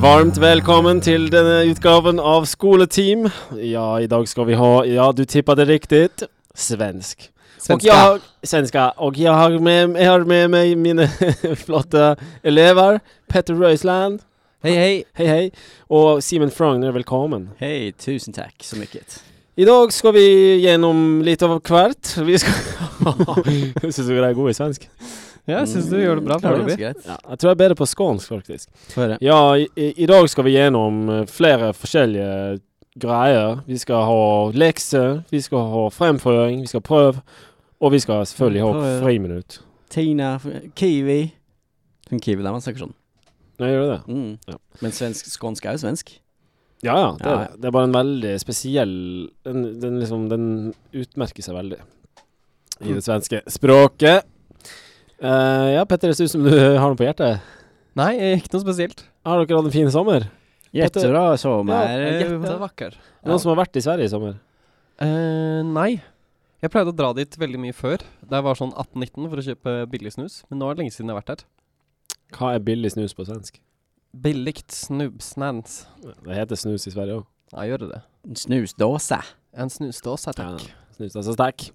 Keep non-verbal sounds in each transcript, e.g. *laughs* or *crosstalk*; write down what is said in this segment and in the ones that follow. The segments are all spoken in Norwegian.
Varmt velkommen til denne utgaven av Skoleteam. Ja, i dag skal vi ha Ja, du tippa det riktig. Svensk. Og jeg, har- svenska. Og jeg har med, jeg har med meg mine *laughs* flotte elever. Petter Røisland. Hei, hei. Hei, hei. Og Simen Frogner, velkommen. Hei, tusen takk så mycket. I dag skal vi gjennom litt av hvert. Vi skal *laughs* Syns du jeg er god i svensk? Ja, jeg syns Mm. du gjør det bra foreløpig. Ja, jeg tror jeg er bedre på skånsk, faktisk. Få høre. Ja, i, i dag skal vi gjennom eh, flere forskjellige greier. Vi skal ha lekser, vi skal ha fremføring, vi skal prøve, og vi skal selvfølgelig ha Prøve. friminutt. Tina, f- Kiwi. Hun Kiwi der man snakker sånn. Nei, gjør det det? Mm. Ja. Men svensk, skånsk er jo svensk. Ja, ja. Det, Ja, er ja. det. det er bare en veldig spesiell Den, den, liksom, den utmerker seg veldig i det svenske språket. Eh, ja, Petter, det ser ut som du *laughs* har noe på hjertet. Nei, eh, ikke noe spesielt. Har dere hatt en fin sommer? Jättebra sommar. Eh, Jättevakker. Noen som har vært i Sverige i sommer? Eh, nei. Jeg pleide å dra dit veldig mye før. Da jeg var sånn 18-19 for å kjøpe billig snus. Men nå er det lenge siden jeg har vært der. Hva er billig snus på svensk? Billigt snubbsnans. Det heter snus i Sverige òg. Ja, gjør det det? Snusdåse. En snusdåse, takk. Ja, snus er så sterk.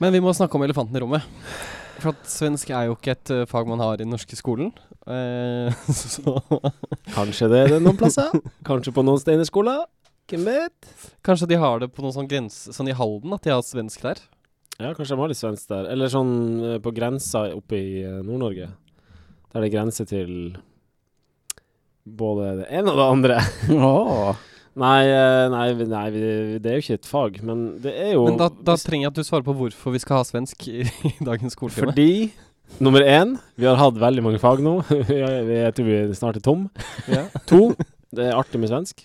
Men vi må snakke om elefanten i rommet. For at svensk er jo ikke et eh, fag man har i den norske skolen. Eh, *laughs* så Kanskje det er det *laughs* noen plasser. Kanskje på noen steinerskoler. Hvem vet? kanskje de har det på noen sånn grense Sånn i Halden, at de har svensk der. Ja, kanskje de har litt svensk der. Eller sånn eh, på grensa oppe i eh, Nord-Norge. Der det er grense til både det ene og det andre. *laughs* Åh. Nei, eh, nei, vi- nei, vi- det er jo ikke et fag, men det er jo Men da, da trenger jeg at du svarer på hvorfor vi skal ha svensk i, *laughs* i dagens skoletime. Fordi Nummer én, vi har hatt veldig mange fag nå. *laughs* jeg, jeg tror vi snart er tom. Ja. To, det er artig med svensk.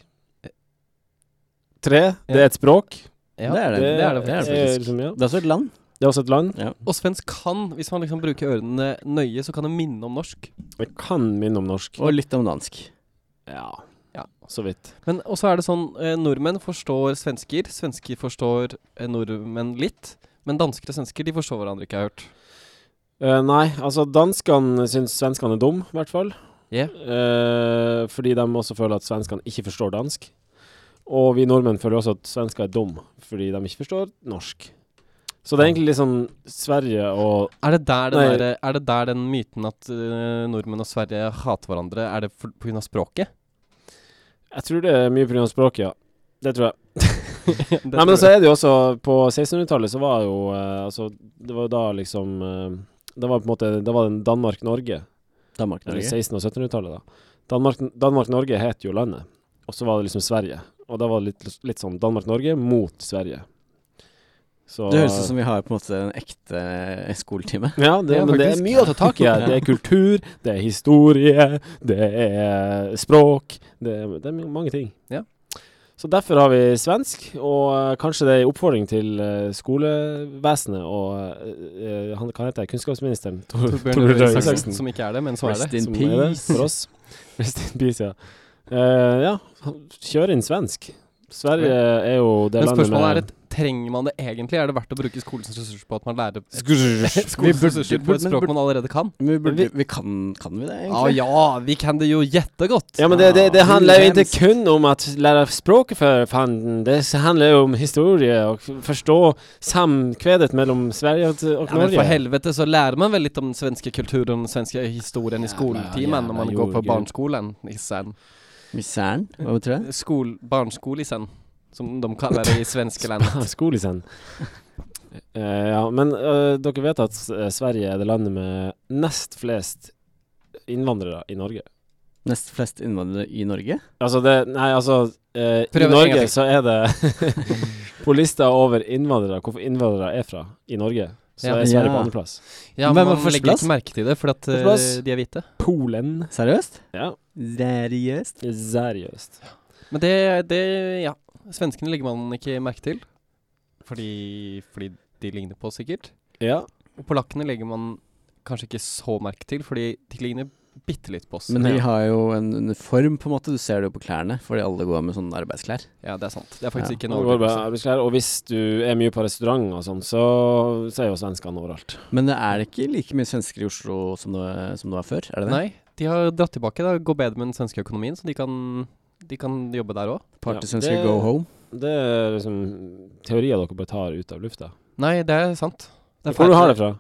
Tre, det er et språk. Ja, Det er det. det er det det er faktisk. faktisk. liksom, ja. Det er også et land. det er også et land. Og svensk kan, hvis man liksom bruker ørene nøye, så kan det minne om norsk. Det kan minne om norsk. Og litt om dansk. Ja. Ja. Så vidt. Men også er det sånn eh, nordmenn forstår svensker, svensker forstår eh, nordmenn litt. Men dansker og svensker de forstår hverandre ikke, jeg har hørt. Eh, nei, altså danskene syns svenskene er dum, i hvert fall. Ja. Eh, fordi de også føler at svenskene ikke forstår dansk. Og vi nordmenn føler også at svensker er dum, fordi de ikke forstår norsk. Så det er egentlig litt sånn Sverige og Er det der den, Nei. derre- er det der den myten at eh, nordmenn og Sverige hater hverandre, er det for- på grunn av språket? Jeg tror det er mye pga. språket, ja. Det tror jeg. Det Nei, tror men så jeg. er det jo også På 1600-tallet så var jo eh, Altså, det var jo da liksom eh, Det var på en måte Da var det Danmark-Norge. Danmark, Eller Norge. 1600- og 1700-tallet, da. Danmark- Danmark-Norge het jo landet, og så var det liksom Sverige. Og da var det litt, litt sånn Danmark-Norge mot Sverige. Så Det høres ut som vi har på en måte en eh, ekte skoletime. Ja, det, Ja, men det er faktisk. mye å ta tak i her. Det er kultur, det er historie, det er språk. Det er, det er my- mange ting. Ja. Så derfor har vi svensk, og eh, kanskje det er en oppfordring til eh, skolevesenet og eh, eh, han, Hva heter det? Kunnskapsministeren? Tor- Torbjørn Røe Røe Isaksen. Isaksen, som ikke er det, men som er Rest det. in som er det peace. for oss. *laughs* Rest in peace, ja. Eh, ja, kjør inn svensk. Sverige er jo det Men landet spørsmålet er et, trenger man det egentlig? Er det verdt å bruke skolens ressurser på at man lærer *laughs* Vi skolens burde- ressurser på burde- et språk burde- man allerede kan? Vi, vi- burde, vi kan, kan vi det, Ja, egentlig? ja, vi kan det jo jättegott. Ja, men det, det, det Ah, handler jo ikke Svensk. kun om å lære språket for fanden. Det s- handler jo om historie og f- forstå samkvedet mellom Sverige og, og Ja, men for Norge. helvete så lär man väl lite om den svenska kulturen och den svenska historien i Jävla, skoltimmen jävla om man går på jordgubb. barnskolan nissen. Misæren? Hva betyr det? Skol, barnskolisen, som de kallar det i svenskland. *laughs* Skolisen. Eh, ja, men eh, dere vet at eh, Sverige er det landet med nest flest innvandrere i Norge. Nest flest innvandrere i Norge? Altså det Nei, altså eh, I Prøv en gang Norge til. så er det *laughs* På lista over innvandrere, hvorfor innvandrere er fra i Norge, så Ja. er Sverige på Ja. andreplass. *laughs* Ja, Men men vad man först lägger plats? inte märke till det för att eh, Förstås. de är vita. Polen. Seriøst? Ja, Seriøst? seriøst. Men det, det ja. Svenskene legger man ikke merke til. Fordi, fordi de ligner på oss sikkert. Ja. Og polakkene legger man kanskje ikke så merke til, fordi de ligner bitte litt på oss. Men de Ja. har jo en uniform, på en måte. Du ser det jo på klærne, fordi alle går med sånne arbeidsklær. Ja, det er sant. Det er faktisk Ja. ikke en Det går bra overdrivelse. arbeidsklær. Og hvis du er mye på restaurant og sånn, så ser jo svenskene overalt. Men det er ikke like mye svensker i Oslo som det, som det var før? Er det det? Nei, de har dratt tilbake. Det går bedre med den svenske økonomien, så de kan, de kan jobbe der òg. Partysvensker Ja, det- go home? Det er liksom teorier dere bare tar ut av lufta. Nei, det er sant. Det er Hvor du har det feil. fra?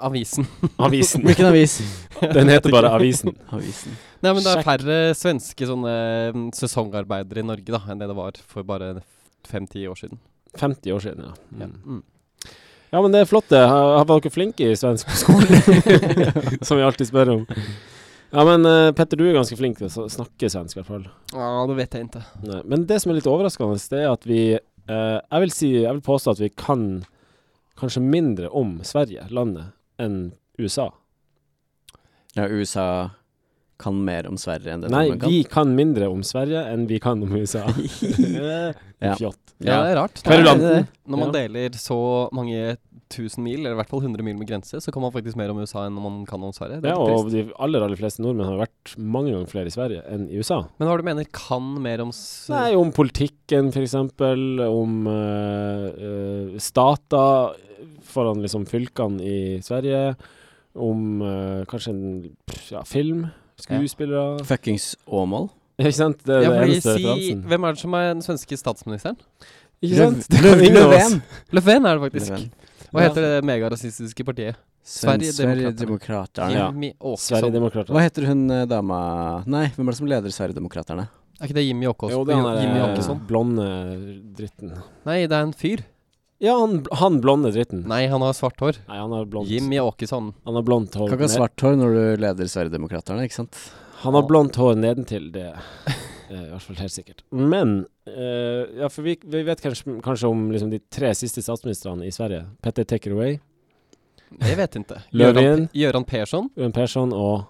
Avisen. Avisen. Hvilken avis? *laughs* Den heter bare *laughs* *laughs* Avisen. Avisen. Nei, men det er Sjekk. færre svenske sånne mm, sesongarbeidere i Norge da, enn det det var for bare fem-ti år siden. 50 år siden, ja. Ja. Mm. Mm. Ja, men det er flott det. Har har dere flinke i svensk på skolen? *laughs* Som vi alltid spør om. Ja, men eh, Petter, du er ganske flink til å s- snakke svensk, i hvert fall. Ja, det vet jeg ikke. Nei. Men det som er litt overraskende, det er at vi eh, jeg, vil si, jeg vil påstå at vi kan kanskje mindre om Sverige, landet, enn USA. Ja, USA kan mer om Sverige enn det Nei, nordmenn kan. vi kan mindre om Sverige enn vi kan om USA. *laughs* Eh, Ja. Fjott. Ja, det er rart. Kverulanten. Når man- Når man Ja. deler så mange tusen mil, eller i hvert fall 100 mil med grense, så kan man faktisk mer om USA enn man kan om Sverige. Det er Ja, litt og trist. de aller, aller fleste nordmenn har vært mange ganger flere i Sverige enn i USA. Men hva er det du mener kan mer om s Nei, om politikken f.eks., om uh, stater foran liksom fylkene i Sverige, om eh, kanskje en pff, ja, film, skuespillere *laughs* Fuckings Åmål. Ikke sant? Det er Ja, det fordi eneste si, referansen. hvem er det som er den svenske statsministeren? Ikke sant? Det Løv- er ingen av oss. Löfven. Löfven er det faktisk. Löfven. Hva heter det megarasistiske partiet? Sven- Sverigedemokraterna. Sverigedemokraterne. Ja. Jimmy Åkesson. Sverigedemokraterne. Hva heter hun eh, dama Nei, hvem er det som leder Sverigedemokraterne? Er ikke det Jimmy Åkesson? Jo, det er han Jimmy der, eh, Åkesson? blonde dritten. Nei, det er en fyr. Ja, han, han blonde dritten. Nei, Nei, han har svart hår. han har blondt Jimmy Åkesson. Han har blondt hår. Kan ikke ha ned- svart hår når du leder Sverigedemokraterne, ikke sant? Han har blondt hår nedentil, det er i hvert fall helt sikkert. Men eh, ja, for vi, vi vet kanskje, kanskje om liksom, de tre siste statsministrene i Sverige. Petter Takerway, Jeg vet *laughs* ikke. Löfven. Gøran Persson. Ørn Persson og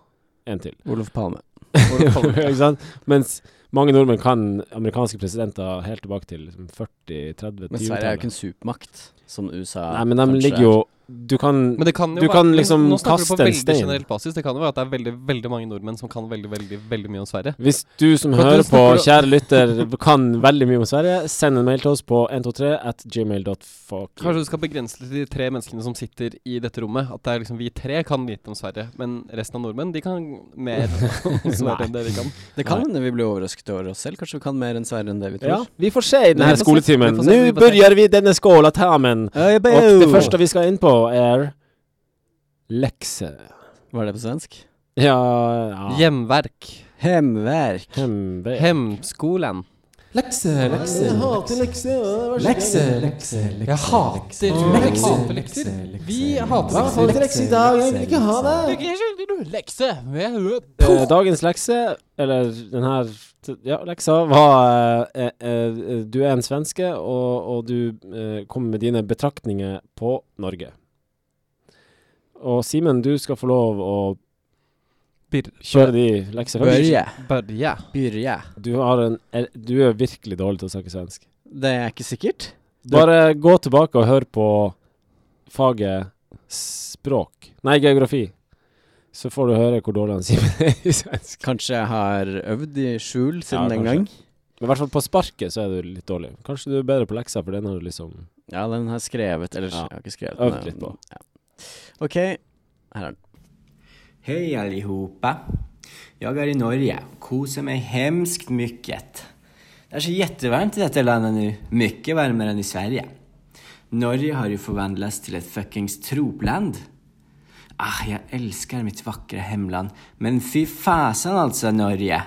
en til. Olof Palme. *laughs* Ikke sant? Mens mange nordmenn kan amerikanske presidenter helt tilbake til liksom, 40-30-20-tallet. Men Sverige er jo ikke en supermakt, som USA Nei, men de kanskje ligger jo Du kan Men det kan jo Du være- kan men liksom nå snakker du kaste på en veldig stein. generelt basis. Det kan jo være at det er veldig veldig mange nordmenn som kan veldig veldig, veldig mye om Sverige. Hvis du som Men du hører på, snakker kjære lytter, kan veldig mye om Sverige, send en mail til oss på 123 at gmail.fuck. Kanskje du skal begrense det til de tre menneskene som sitter i dette rommet. At det er liksom vi tre kan lite om Sverige, men resten av nordmenn de kan *laughs* mer om Sverige enn det vi kan. Det kan hende vi blir overrasket over oss selv. Kanskje vi kan mer enn Sverige enn det vi Ja, tror. vi får se i Vi denne får se, skoletimen. vi får se, vi Nå får se. begynner vi denne skåla sammen. Og det første vi skal inn på, er lekse. Var det på svensk? Ja, ja. Hjemverk. Hemverk. Hvem vet? Hemskolen. Lekse, lekse. Jeg hater lekse. Lekse, lekse, lekse. Jeg hater lekser. Vi hater Hva holder lekse i dag? Jeg vil ikke ha det. lekser. Eh, Dagens lekse, eller den her ja, leksa, var eh, eh, eh, Du er en svenske, og, og du eh, kommer med dine betraktninger på Norge. Og Simen, du skal få lov å kjøre de leksene først. Børje. Børje. Byrje. Du, har en, er- du er virkelig dårlig til å snakke svensk. Det er ikke sikkert. Bare gå tilbake og hør på faget språk Nei, geografi. Så får du høre hvor dårlig han Simen er *laughs* i svensk. Kanskje jeg har øvd i skjul siden Ja, den kanskje. gang. Men i hvert fall på sparket så er du litt dårlig. Kanskje du er bedre på lekser, for den har du liksom Ja, den har jeg skrevet. Eller Ja. jeg har ikke skrevet Øvd men- litt på. Ja. Ok, her er den. Hej allihopa. Jag är i Norge. Koser mig hemskt mycket. Det är så jättevarmt i detta landet nu. Mycket varmare än i Sverige. Norge har ju förvandlats till ett fuckings tropland. Ah, jag älskar mitt vackra hemland. Men fy fasen alltså Norge.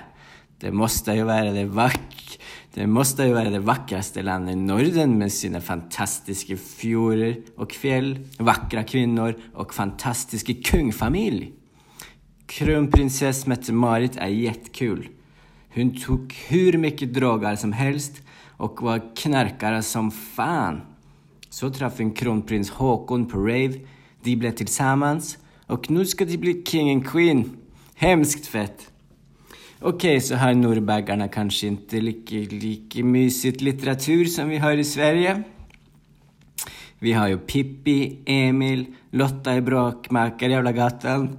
Det måste ju vara det vack... Det måste ju vara det vackraste landet i Norden med sina fantastiska fjorder och fjäll, vackra kvinnor och fantastiska kungfamilj. Kronprinsess Mette-Marit är jättekul. Hon tog hur mycket droger som helst och var knarkare som fan. Så träffade hon kronprins Håkon på rave. De blev tillsammans och nu ska de bli king and queen. Hemskt fett! Okej, så har norrbaggarna kanske inte lika, lika mysigt litteratur som vi har i Sverige. Vi har ju Pippi, Emil, Lotta i Bråkmakarjävla gatan,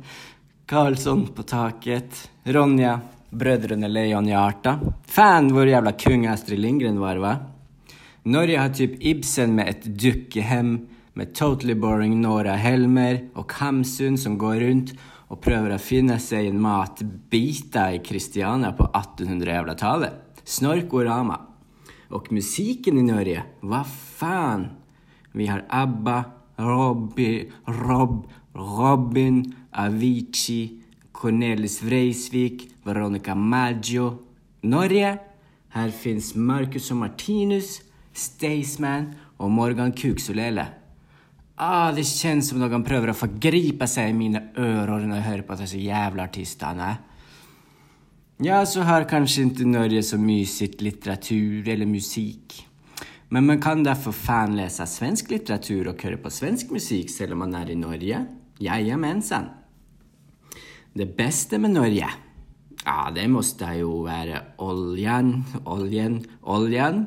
Karlsson på taket, Ronja, Bröderna Lejonhjärta. Fan vår jävla kung Astrid Lindgren var va? Norge har typ Ibsen med ett dukkehem med Totally Boring Nora Helmer och Hamsun som går runt och prövar att finna sig en matbita i Christiania på 1800-talet. Snorkorama. Och musiken i Norge, vad fan! Vi har ABBA, Robby, Rob, Robin, Avicii, Cornelis Vreiswijk, Veronica Maggio. Norge, här finns Marcus och Martinus, Staysman och Morgan Kuksulele. Ah, det känns som någon prövar att förgripa sig i mina öron när jag hör på att det är så jävla artist han är. Ja, så här kanske inte Norge så mysigt litteratur eller musik. Men man kan därför fan läsa svensk litteratur och höra på svensk musik sällan man är i Norge. Jajamensan. Det bästa med Norge? Ja, det måste ju vara oljan, oljan, oljan.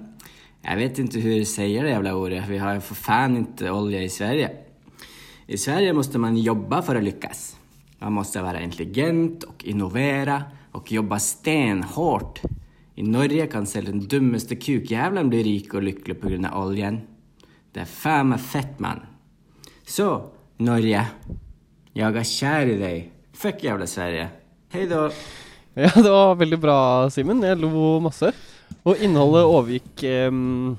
Jag vet inte hur jag säger det jävla ordet. Vi har ju för fan inte olja i Sverige. I Sverige måste man jobba för att lyckas. Man måste vara intelligent och innovera och jobba stenhårt. I Norge kan själv den dummaste kukjävlen bli rik och lycklig på grund av oljan. Det är fan med fett man. Så, Norge. Jag är kär i dig. Fuck jävla Sverige. Hej då. *laughs* Ja, det var veldig bra, Simen. Jeg lo masse. Og innholdet overgikk em,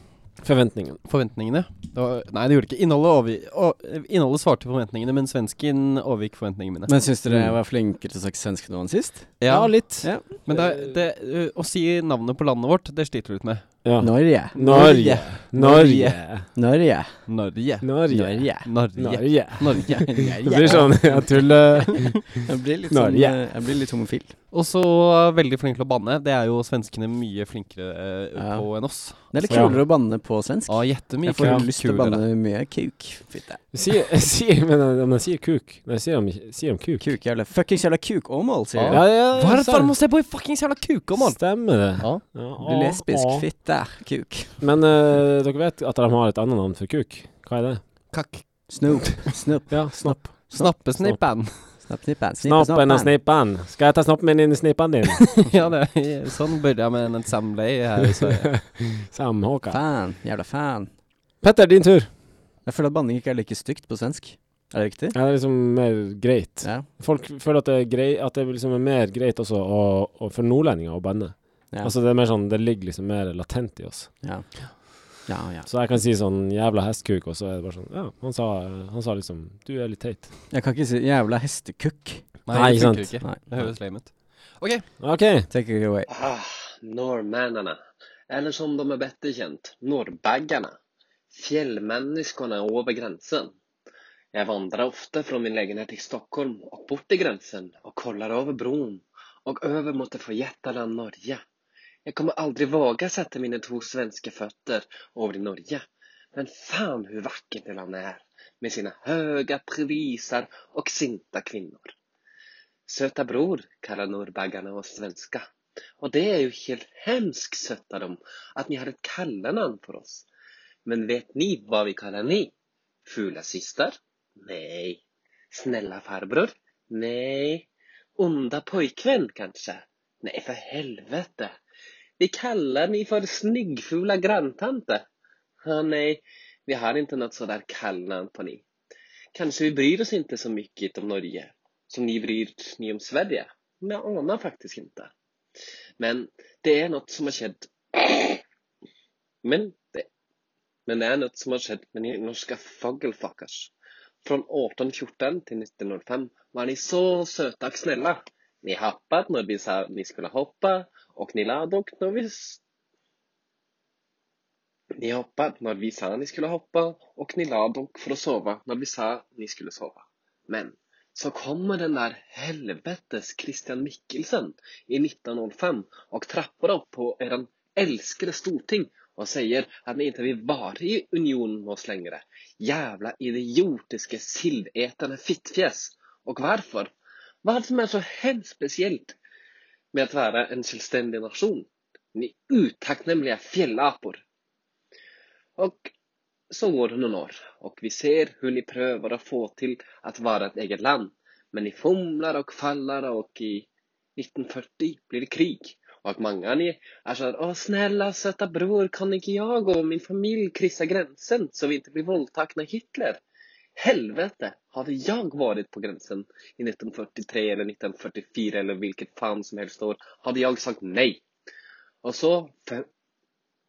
Förväntningen. forventningene. Det var, nei, det gjorde ikke. Innholdet, overgi- å, innholdet svarte forventningene, men svensken overgikk forventningene mine. Men syns dere jeg var Mm. flinkere til å snakke svensk nå enn sist? Ja, lite. Ja. Men det, er- det, ø, å si navnet på landet vårt, det sliter du litt med. Ja. Norge. Norge. Norge. Norge. Norge. Norge. Norge. Norge. Norge. *laughs* Norge. Det blir sånn at du lø- Jeg blir litt, Norge. sånn, eh, jeg blir litt homofil. Og så veldig flink til å banne. Det er jo svenskene mye flinkere ø, Ja. på enn oss. Det er litt Ja. kulere å banne på svensk. Ja, gjettemye Jeg får kult. lyst til å kulere. banne mye kuk. Fitte. Sier, sier, men eh, men sier kuk. Nei, sier de, sier de kuk? Kuk jævla Fuckings jævla kukåmål, sier Ja. du. ja, Hva er det sant. dere må se på i fuckings jævla kukemål? Stemmer det. Ja. Ja, Du er lesbisk. ja. Fitte. Kuk. Men eh, dere vet at de har et annet navn for kuk? Hva er det? Kakk. Snoop. Snoop. Ja, snopp. Sånn. Snappesnippan. Snapp, snippen. Snippe, Snoppen og snappen. snippen. Skal jeg ta snoppen min inn i snippen din? *laughs* *laughs* ja, det, sånn burde jeg med en samleie her i *laughs* Sverige. Samhåka. Fan. Jævla fan. Petter, din tur. Jeg føler at banning ikke er like stygt på svensk. Er det riktig? Ja, det er liksom mer greit. Ja. Folk føler at det er, grei, at det liksom er mer greit også å, å, for nordlendinger å banne. Ja. Altså det er mer sånn, det ligger liksom mer latent i oss. Ja. Ja, ja. Så jeg kan si sånn jævla hestkuk, og så er det bare sånn Ja, han sa, han sa liksom Du er litt teit. Jeg kan ikke si jævla hestekukk. Nei, det sant. funker ikke. Nei. Det høres lame ut. Ok, OK. Take it away. Ah, norrmännarna. Eller som de är bättre känt, norrbaggarna. Fjällmänniskorna över gränsen. Jag vandrar ofta från min lägenhet i Stockholm och bort till gränsen och kollar över bron och över mot det förjättade Norge. Jag kommer aldrig våga sätta mina två svenska fötter över i Norge. Men fan hur vackert det landet är med sina höga priser och sinta kvinnor. Söta bror kallar norrbaggarna oss svenska. Och det är ju helt hemskt sött av dem att ni har ett kallanamn för oss. Men vet ni vad vi kallar ni? Fula syster? Nej. Snälla farbror? Nej. Onda pojkvän kanske? Nej, för helvete. Vi kallar ni för snyggfula granntante. Ja, nej, vi har inte något sådär kallnamn på ni. Kanske vi bryr oss inte så mycket om Norge som ni bryr ni om Sverige. Men jag anar faktiskt inte. Men det är något som har skett. Men det, men det är något som har skett med ni norska fågelfuckers. Från 1814 till 1905 var ni så söta och snälla. Ni hoppat när vi sa ni skulle hoppa och ni lade och när vi... s- Ni hoppat när vi sa ni skulle hoppa och ni lade och för att sova när vi sa ni skulle sova. Men så kommer den där helvetes Christian Mikkelsen i 1905 och trappar upp på eran älskade storting och säger att ni inte vill vara i union med oss längre. Jävla idiotiska sillätande fittfjäs. Och varför? Vad som är så hemskt speciellt med att vara en självständig nation? Ni utacknämliga fjällapor. Och så går det några år och vi ser hur ni prövar att få till att vara ett eget land. Men ni fumlar och fallar och i 1940 blir det krig. Och många av ni sånn, är så här, åh snälla söta bror, kan inte jag och min familj kryssa gränsen så vi inte blir våldtagna av Hitler? Helvete, hade jag varit på gränsen i 1943 eller 1944 eller vilket fan som helst år, hade jag sagt nej. Och så,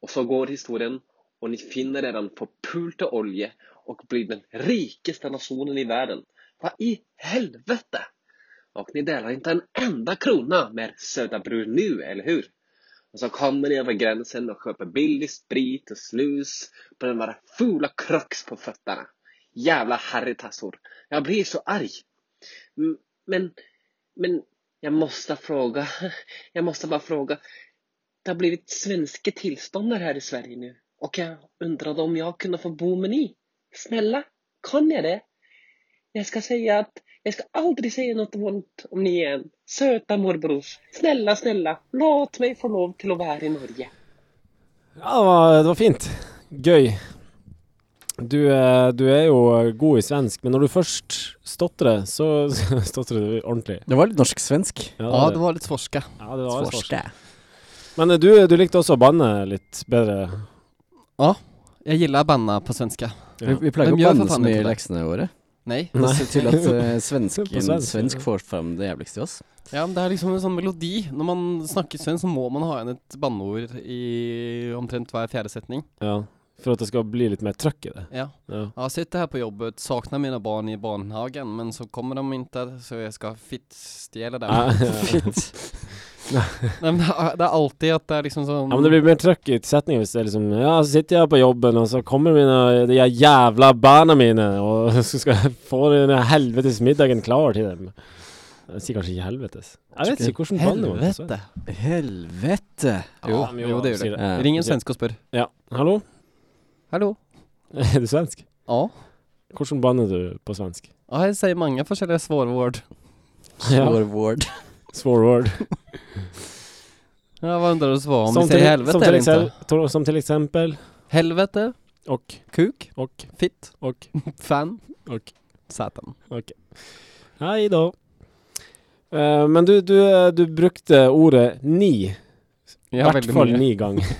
och så går historien och ni finner er den förpulta olje och blir den rikaste nationen i världen. Vad i helvete! Och ni delar inte en enda krona med er söta bror nu, eller hur? Och så kommer ni över gränsen och köper billig sprit och snus på den där fula krocks på fötterna. Jävla harrytassor. Jag blir så arg. M- Men, men jag måste fråga. *laughs* Jag måste bara fråga. Det har blivit svenska tillståndare här i Sverige nu och jag undrade om jag kunde få bo med ni. Snälla, kan jag det? Jag ska säga att jag ska aldrig säga något ont om ni igen. Söta morbrors. Snälla, snälla, låt mig få lov till att vara här i Norge. Ja, det var, det var fint. Gøy. Du, eh, du er jo god i svensk, men når du først stotrer, så *laughs* stotrer du ordentlig. Det var litt norsk-svensk. Ja, Ja, det var litt svorska. ja, det var svårt. Svorske. Men eh, du, du likte også å banne litt bedre. Jag gillar banna på svenska. Vi, vi Men plager å gjør banne for så faen mye ikke i det. leksene våre. Nej. Det ser til at eh, På svensken, svensk, svensk ja. får fram det jævligste i oss. Ja, men det er liksom en sånn melodi. Når man snakker svensk, så må man ha igjen et banneord i omtrent hver fjerde setning. Ja, for at det skal bli litt mer trøkk i *laughs* det. Ja. Ja. Jag sitter här på jobbet, saknar mina barn i barnhagen, men så kommer de inte, så jag ska fittstjäla dem. *laughs* Ja, ja. Fitt. Nej, men det är- det är alltid att det är liksom sån... Ja, men det blir mer trøkk i setningen hvis det er liksom Ja, så sitter jeg på jobben, og så kommer mine de her jævla barna mine, og *laughs* så skal jeg få den helvetes middagen klar til dem. Jeg sier kanskje ikke helvetes. Jeg vet ikke hvordan banner man altså. Helvete. Helvete! Jo, men jo, jo, det sier gjør det. det. Ring en svenske og spør. Ja, hallo? *laughs* Hallo? Er du svensk? Ja. Hvordan banner du på *laughs* svensk? Ja, jeg sier mange forskjellige svårord. Ja, Vår Ward. Swore word. Ja, hva undrer du svar om? Vi sier helvete som, til eller ikke? eksel- to- som til eksempel Helvete, og, kuk, og, fitt, og, fan, og. satan. Hei da. Eh, men du, du, eh, du brukte ordet ni. I Ja, hvert veldig fall mye. ni *laughs* ganger.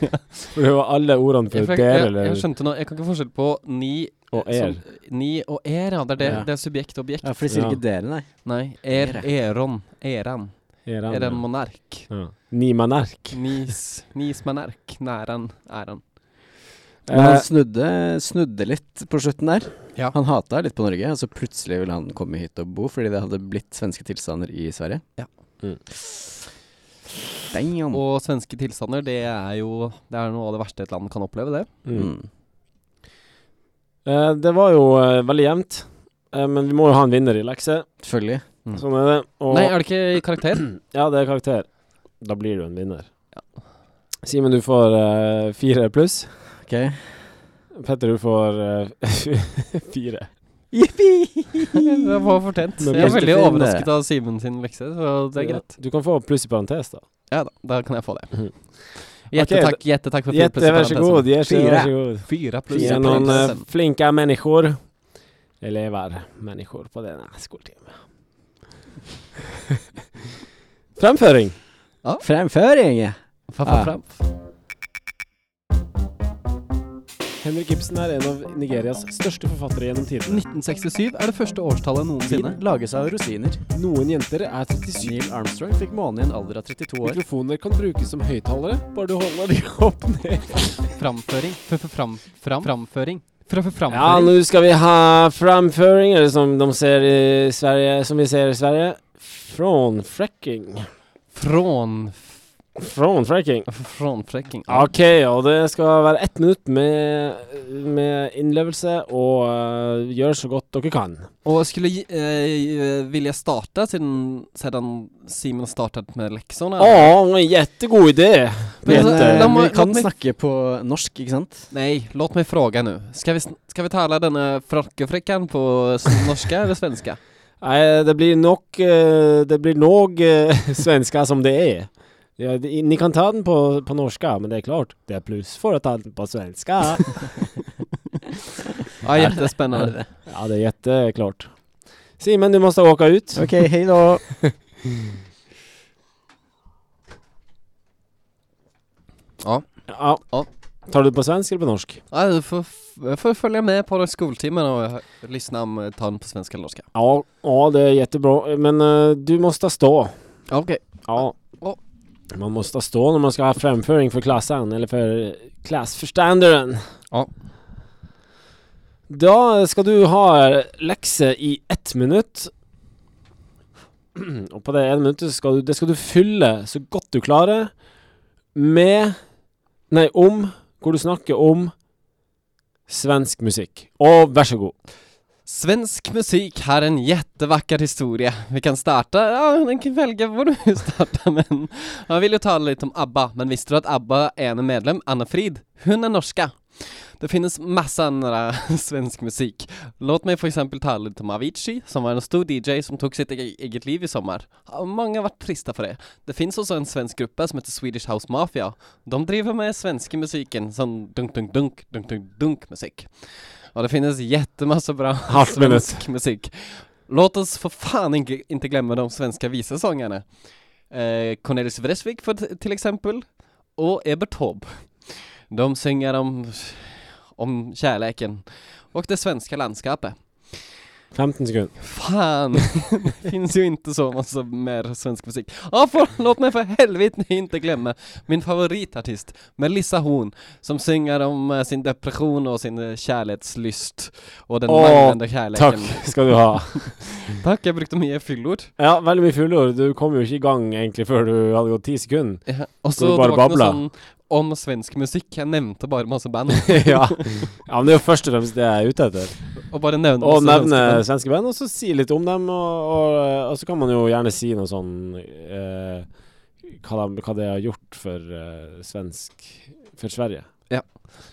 For det var alle ordene Jeg, for fikk- dere jeg, eller jeg skjønte nå, jeg kan ikke forskjell på ni og er. som- Ni og er, ja. Det er, det, Ja. det er subjekt og objekt. Ja, for de sier Ja. ikke dere, nei. Nei. Er, Ere. eron, eran. Er Er en han, monark. ja. Ni manerk. Nis, nis monark. Næran, æran. Men Eh, han snudde, snudde litt på slutten der. Ja. Han hata litt på Norge, og så plutselig ville han komme hit og bo fordi det hadde blitt svenske tilstander i Sverige. Ja. Mm. Damn. Og svenske tilstander, det er jo Det er noe av det verste et land kan oppleve, det. mm. Mm. eh, det var jo eh, veldig jevnt. Eh, men vi må jo ha en vinner i lekse. Selvfølgelig. Sånn er det. Og Nei, er det ikke i karakter? ja, det er karakter. Da blir du en vinner. Simen, du får eh, fire pluss. Ok. Petter, du får eh, *laughs* fire. Det var fortjent. Men Jeg er beste veldig film, det. overrasket av Simen sin lekse, så det er greit. Du kan få pluss i parentes, da. Ja da, da kan jeg få det. Mhm. Gjette Ok, takk, gjette takk for fire Gjette, pluss. i vær så parentesen. god. Gjette, Fire. vær så god. Fyra pluss. Vi i er noen eh, parentesen. flinke mennesker. Elever, mennesker på denne skoletimen. *laughs* Fremføring. Fremføring! Fa, fa, Ah. fram. Henrik Ibsen er en av Nigerias største forfattere gjennom tidene. 1967 er det første årstallet noensinne. Vin lages av rosiner. Noen jenter er 37 Neil Armstrong fikk månen i en alder av 32 år. Mikrofoner kan brukes som høyttalere, bare du holder de opp ned. Framføring. Fra- fra- Fram, fram, framføring. Fra- fra- Ja, Framføring. nå skal vi ha framføring, eller som de ser i Sverige, som vi ser i Sverige. Frånfräcking. Från... Frånfräcking. Frånfrekking. Ok, og det skal være ett minutt med, med innlevelse og eh, gjør så godt dere kan. Og jeg skulle gi- eh, vilja starte siden, siden Simen startet med leksene. Å, en jättegod idé! Men, Men, eh, la meg- vi la kan meg- snakke på norsk, ikke sant? Nei, låt meg fråga nå. Skal vi, sn- skal vi tale denne frakkefrekken på s- norske eller svenske? Nei, det blir nok eh, Det blir nog eh, *laughs* svenska som det er. Ja, det- ni kan ta den på, på norska, men det är klart, det är plus för att ta den på svenska. Ja, jättespennende. ja, det är jätteklart. Simon, du måste åka ut. Ok, hej då! Ja. Ja. Ja. Tar du det på svensk eller på norsk? Nej, du får, f- får följa med på skoltimmen och hö- lyssna om talen på svenska eller norska. Ja, ja det är jättebra. Men eh, du måste stå. Okej. Ja. Ja. Man måste stå när man ska ha framföring för klassen eller för klassförståndaren. Ja. Då ska du ha läxa i ett minut. Och på det en minut så ska du, det ska du fylla så godt du klarer med Nei, om hvor du snakker om svensk musikk. Og vær så god. Svensk musik har en jättevacker historia. Vi kan starta, ja, den kan välja vad du vill starta *laughs* men jag vill ju tala lite om ABBA, men visste du att ABBA är en medlem, Anna Frid, hon är norska. Det finns massa andra *laughs* svensk musik. Låt mig för exempel tala lite om Avicii, som var en stor DJ som tog sitt e- eget liv i sommar. Ja, Många har varit trista för det. Det finns också en svensk grupp som heter Swedish House Mafia. De driver med svenska musiken, som dunk, dunk, dunk, dunk, dunk, dunk musik. Och det finns jättemassa bra Halvt minutt. svensk musik. Låt oss för fan inte, inte glömma de svenska visesångarna. Eh, Cornelis Vreeswijk för t- till exempel, och Ebert Taube. De synger om, om kärleken och det svenska landskapet. 15 sekunder. Fan, *laughs* det finns ju inte så massa mer svensk musik. Ja, för, låt mig för helvete inte glömma min favoritartist Melissa Horn som synger om eh, sin depression och sin eh, kärlekslyst och den Åh, manglande kärleken. Takk skal du ha. Tack, jag brukte mye fyllord. Ja, veldig mye fullord. Du kom jo ikke i gang egentlig før du hadde gått 10 sekunder. *laughs* Ja, Och Ska du så bara det var ikke babbla? noe sånn om svensk musikk. Jeg nevnte bare masse *laughs* band, ja. ja, men det er jo først og fremst det jeg er ute etter. og bare nevnte Å masse svenske nevne band. svenske band, og så si litt om dem. Og, og, og så kan man jo gjerne si noe sånn eh, hva, de, hva det har gjort for eh, svensk For Sverige.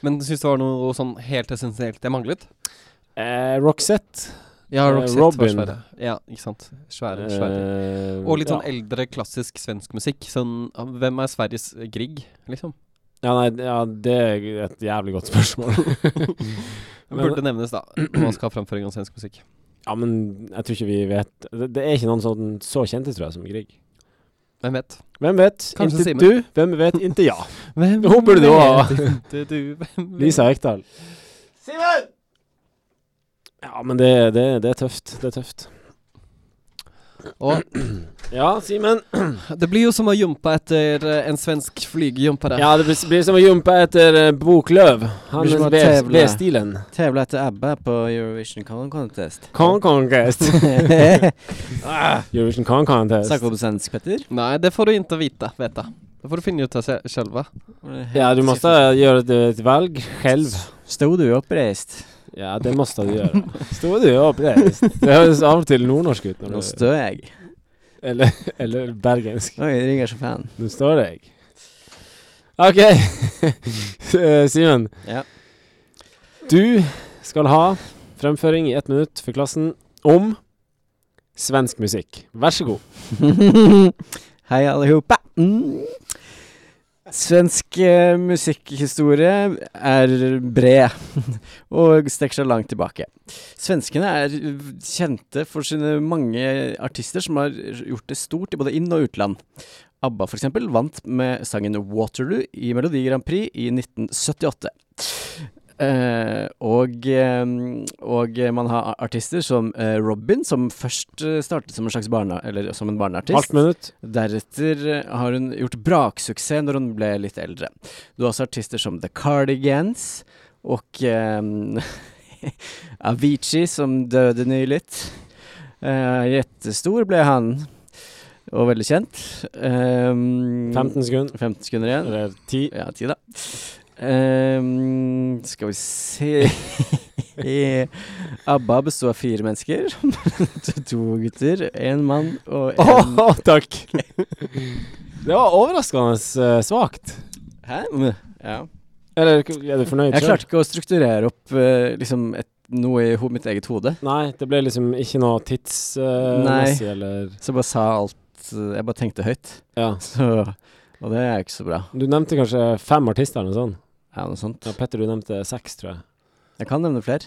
Men syns det var noe sånn helt essensielt jeg manglet? Eh, Roxette. Ja, Eh, Roxette Robin. var svære. Ja, ikke sant. Svære, svære. eh, Og litt sånn ja. eldre, klassisk svensk musikk. Sånn ah, Hvem er Sveriges eh, Grieg, liksom? ja, nei, ja, det er et jævlig godt spørsmål. *laughs* Men- Burde nevnes, da. Når man skal ha framføring av svensk musikk. ja, men jeg tror ikke vi vet Det, det er ikke noen sånn så kjente, tror jeg, som Grieg. Hvem vet? Hvem vet? Kanskje inte Simen. du. Hvem vet? Inte ja. Hvem Hun burde du ha. vet Ikke du, *laughs* hvem vet? Lisa Ekdal. Simen! Ja, men det, det, det er tøft. Det er tøft. Og Ja, Simen. det blir jo som å jumpe etter eh, en svensk flygejumpe. der. Ja, det blir, blir som å jumpe etter eh, Boklöv. Han Blir som å ved tävla. ved stilen. Tävla etter ABBA på Eurovision Con *laughs* Contest. Con Contest. Eurovision Con Contest. Snakk om svensk, Petter. Nei, det får du ikke vite. Veta. Det får du finne ut av se- selv. Ja, du måste göra ett, ett valg själv. Stod du oppreist? Ja, det måste du *laughs* göra. Stod du upp det? Det hörs av till nordnorsk ut. När Nå du, står jeg. eller, eller bergensk. Oi, det ringer som fan. Nu står det. Okej. Eh, *laughs* Simen. Ja. Du ska ha framföring i ett minut för klassen om svensk musik. Varsågod. Hei, allihopa. Mm. Svensk eh, musikkhistorie er bred *laughs* og strekker seg langt tilbake. Svenskene er kjente for sine mange artister som har gjort det stort i både inn- og utland. ABBA f.eks. vant med sangen 'Waterloo' i Melodi Grand Prix i 1978. Eh, og, eh, og man har artister som eh, Robin, som først eh, startet som en slags barne, eller som en barneartist. Halvt minutt. Deretter eh, har hun gjort braksuksess når hun ble litt eldre. Du har også artister som The Cardigans og eh, *laughs* Avicii, som døde nylig. Eh, jettestor ble han, og veldig kjent. Eh, 15 sekunder. 15 sekunder igjen. Eller *laughs* ti. Ja, ti, da. Ehm, skal vi se *laughs* ABBA besto av fire mennesker. *laughs* to gutter, én mann og Åh, én *laughs* takk! Det var overraskende eh, svakt. Hæ? Mm, Ja. Eller er du fornøyd? Jeg selv? klarte ikke å strukturere opp eh, liksom et, noe i ho mitt eget hode. Nei, det ble liksom ikke noe Nei. tidsmessig, eller Så jeg bare sa alt eh, Jeg bare tenkte høyt. *laughs* Ja. Så, og det er jo ikke så bra. Du nevnte kanskje fem artister eller noe sånt? Ja, noe sånt. Ja, Petter, du nevnte seks, tror jeg. Jeg kan nevne flere.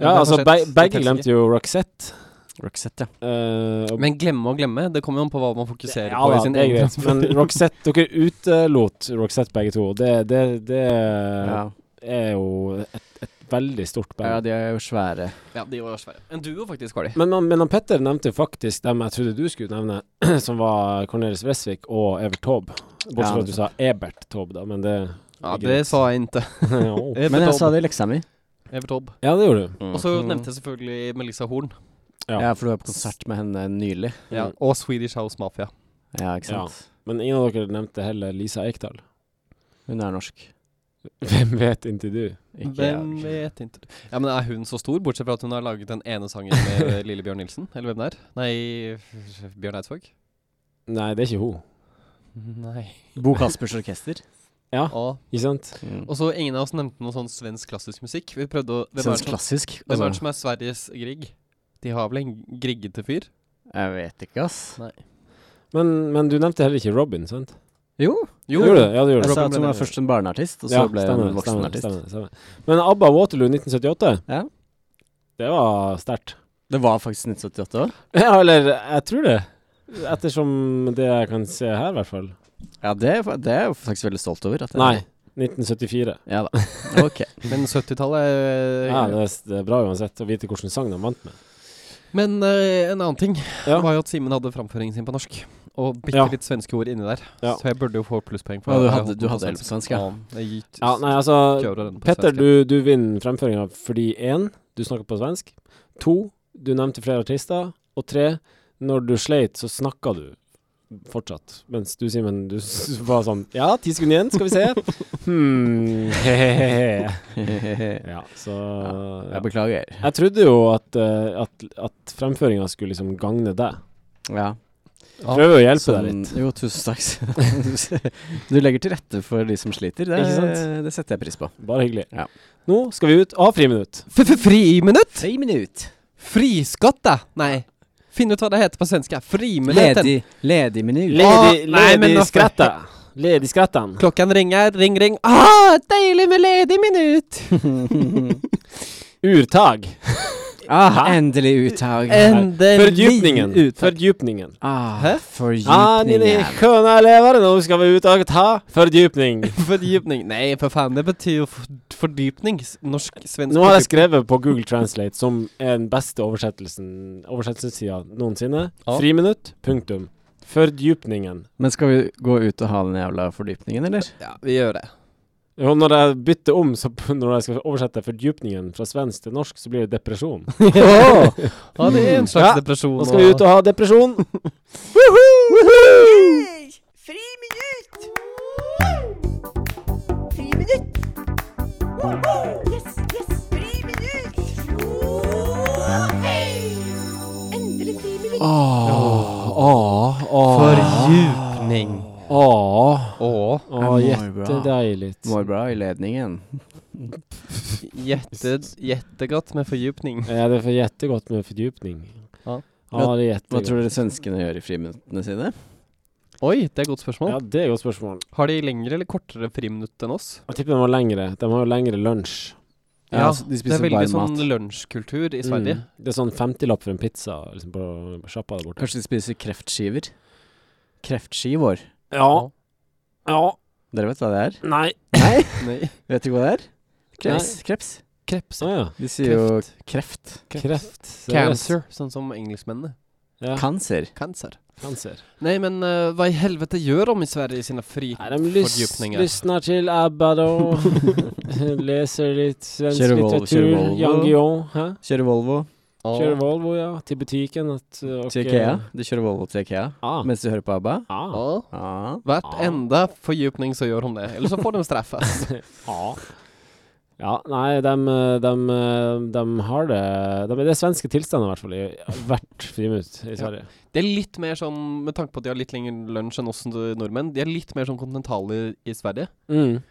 Ja, Ja, altså Roxette. be Det begge teller glemte jo Roxette. Roxette, ja. Eh, og- Men glemme og glemme, det kommer jo an på hva man fokuserer ja, på da, i sin det er egen greit. Men Roxette Dere utelot Roxette begge to. Det, det, det ja. er jo et, et veldig stort band. Ja, de er jo svære. *laughs* Ja, de var svære. En duo, faktisk, var de. Men, han- men han Petter nevnte jo faktisk dem jeg trodde du skulle nevne, *clears throat* som var Cornelis Vresvik og Evert Taube. Bortsett Ja, fra at du sa Ebert Taube, da, men det *laughs* Ja, det er det greit. sa jeg ikke. Jo. Men jeg sa det i leksa mi. Mm. Evert Hobb. Ja, det gjorde du. Og så nevnte jeg selvfølgelig Melissa Horn. Mm. Mm. Ja. Ja, for du var på konsert med henne nylig. Ja, og Swedish House Mafia. Ja, ikke sant? Men ingen av dere nevnte heller Lisa Eikdal. Hun er norsk. *laughs* Hvem vet inntil du? Ikke Hvem jeg. vet ikke Ja, Men er hun så stor, bortsett fra at hun har laget den ene sangen *laughs* med Lille Bjørn Nilsen? Eller hvem det er? Nei, f- Bjørn Eidsvåg? Nei, det er ikke hun. Nei. Bo Kaspers orkester. Og, Ikke sant? 嗯 og så ingen av oss nevnte noe sånn svensk klassisk musikk. Vi prøvde å *laughs* Hvem er Sånn det som, klassisk. hvem er, det Altså, som er Sveriges Grieg? De har vel en griggete fyr? jeg vet ikke, ass. Men, men du nevnte heller ikke Robin, sant? Jo, Jo, gjorde det. Ja, du gjorde jeg det. sa at Robin ble hun var nevnt. først en barneartist, og så Ja, ble stemmer, hun stemmer, voksenartist. stemmer, stemmer. Men ABBA Waterloo 1978, Ja. det var *laughs* sterkt. Det var faktisk 1978 òg. Ja, eller jeg tror det. Ettersom det jeg kan se her, i hvert fall. Ja, det, er fa- det er jeg faktisk veldig stolt over. At jeg- Nei, 1974. *laughs* Ja da. Ok. Men 70-tallet er- Ja, det, er- det er bra uansett å vite hvilken sang de vant med. Men eh, en annen ting Ja. var jo at Simen hadde framføringen sin på norsk. Og bitte Ja. litt svenske ord inni der. Ja. Så jeg burde jo få plusspoeng for Ja, du at jeg hadde- holdt du den på hadde helt på svensk, ja. det gitt- Ja, nei, altså kjører den på Petter, svensk. du, du vinner fremføringa fordi én, du snakker på svensk. To, du nevnte flere artister. Og tre, når du sleit, så snakka du fortsatt. Mens du, Simen, du *laughs* s- var sånn Ja, ti sekunder igjen, skal vi se. Hmm, *laughs* he-he-he. Ja, så ja. Jeg beklager. Jeg trodde jo at, eh, at, at fremføringa skulle liksom gagne deg. Ja. Ja, Prøver å hjelpe deg Sånn- litt. Jo, tusen takk. *laughs* Du legger til rette for de som sliter. Det, Ikke sant? det setter jeg pris på. Bare hyggelig. Ja. Nå skal vi ut av friminutt. F- f- Friminutt? Tre minutter. Friskatta? Nei. Finn ut hva det heter på svensk. Friminutten. Ledig, ledig minut. Ledig, Å, nei, men ledig nå *laughs* skal- skratta. Ledig skrattan. Klokken ringer, ring, ring. Ah, deilig med ledig minutt! *laughs* Urtag. ah, endelig uttag. Fordypningen. Endelig ut. Fordypningen. Ah, Hæ? Ja, ni ni Fordypningen. skjønne elever, nå skal vi ut og ta fordypning. *laughs* Fordypning. Nei, for faen, det betyr jo f- fordypning. S- Norsk-svensk Nå har jeg skrevet på Google Translate, som er den beste oversettelsen oversettelsessida noensinne, Ja. friminutt, punktum. Fordypningen. Men skal vi gå ut og ha den jævla fordypningen, eller? Ja, vi gjør det. Og når jeg bytter om, så *laughs* p- når jeg skal oversette fordypningen fra svensk til norsk, så blir det *laughs* depresjon. Ja, det er en Mm. slags Ja, depresjon. Nå skal vi ut og ha *laughs* depresjon. Friminutt! Friminutt! Yes, yes! Friminutt! Endelig friminutt! Åh, åh, Fordypning. ah, åh. Åh. Åh, Jeg må jo bra. jättedeiligt. Mår bra i ledningen. Jätte, jättegott med fordypning. Ja, det är för jättegott med fördjupning. Ja. ja det är Hva jättegott. tror dere svenskene gjør i friminuttene sine? *laughs* Oi, det er et godt spørsmål. Ja, det är ett gott spørsmål. Har de lengre eller kortere friminutt enn oss? Jag tippar de har längre. De har ju längre lunch. Ja, Ja, altså, de Det er spiser veldig bare sånn mat. lunsjkultur i Sverige. Mm. Det är sån 50-lapp för en pizza liksom på sjappa där borta. Kanskje de spiser kreftskiver? Kreftskivår. Ja. Ja. Dere vet hva det er? Nej. Nei? *laughs* Nei. Vet du hva det er? Kreps. Kreps. Kreps. Ah, ja. De sier jo kreft. Kräft. Seriöst. Cancer, sånn som engelskmennene. Ja. Cancer. Cancer. Cancer. Nei, men eh, hva i helvete gjør de i Sverige i sine fri... Nej, de lys Fördjupningar. lyssnar till ABBA då. Läser lite svensk Kör Volvo, litteratur. kör Volvo. Jan Guillaume. Huh? Kjører Volvo Åh. Kör Volvo ja, till butiken. Att, eh, och, til Ikea. Du kjører Volvo til Ikea Ah. mens du hører på ABBA. Ah. Åh. Ah. Hvert Ja. enda fordypning så gjør de det, eller så får de straffes. Ja. Ja, nei, de, har det dem- Det er svenske tilstander, i hvert fall, i hvert friminutt i Sverige. *laughs* Det er litt mer sånn, med tanke på at de har litt lengre lunsj enn oss nordmenn, de er litt mer sånn kontinentaler i Sverige. Mm.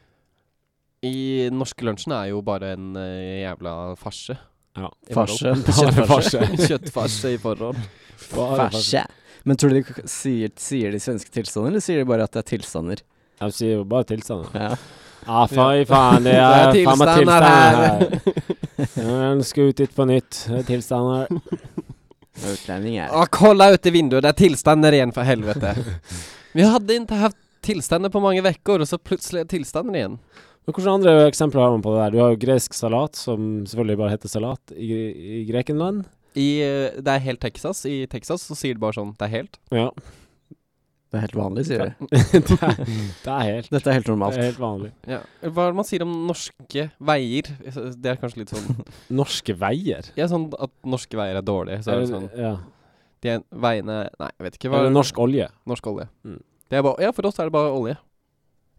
I den norske lunsjen er jo bare en eh, jævla farse. *laughs* Ja. i Farse. forhold. Bare farse. Kjøttfarse. *laughs* Kjøttfarse i forhold. Bare farse. Farse. Men tror du de k- sier, sier de svenske tilstander, eller sier de bare at det er tilstander? De sier jo bare tilstander. Ja. Ja, fy faen, det er Det er faen meg tilstander tilstander her. Ja, men skal ut dit på nytt. Det er tilstander. vad utlänning är. Ja, kolla ut i vinduet, där tillstannar igen för *laughs* helvete. Vi hade inte haft tillstander på många veckor och så plutselig tillstander igen. Men hvilke andre eksempler har man på det der? Du har jo gresk salat, som selvfølgelig bare heter salat i, i Grekenland. I, eh, det er helt Texas, i Texas så sier det bare sånn, det er helt. Ja. Det är helt vanligt ser du. *laughs* det, er, det er helt Detta är helt det er normalt. helt vanlig. Ja. Hva er det man sier om norske veier? Det er kanskje litt *laughs* sånn, Norske veier. ja sånn at norske veier er dårlige, så er det sånn, ja. de er, veiene, nei jeg vet ikke, hva Eller norsk olje. norsk olje? Mm. Det er bare, ja for oss er det bare olje.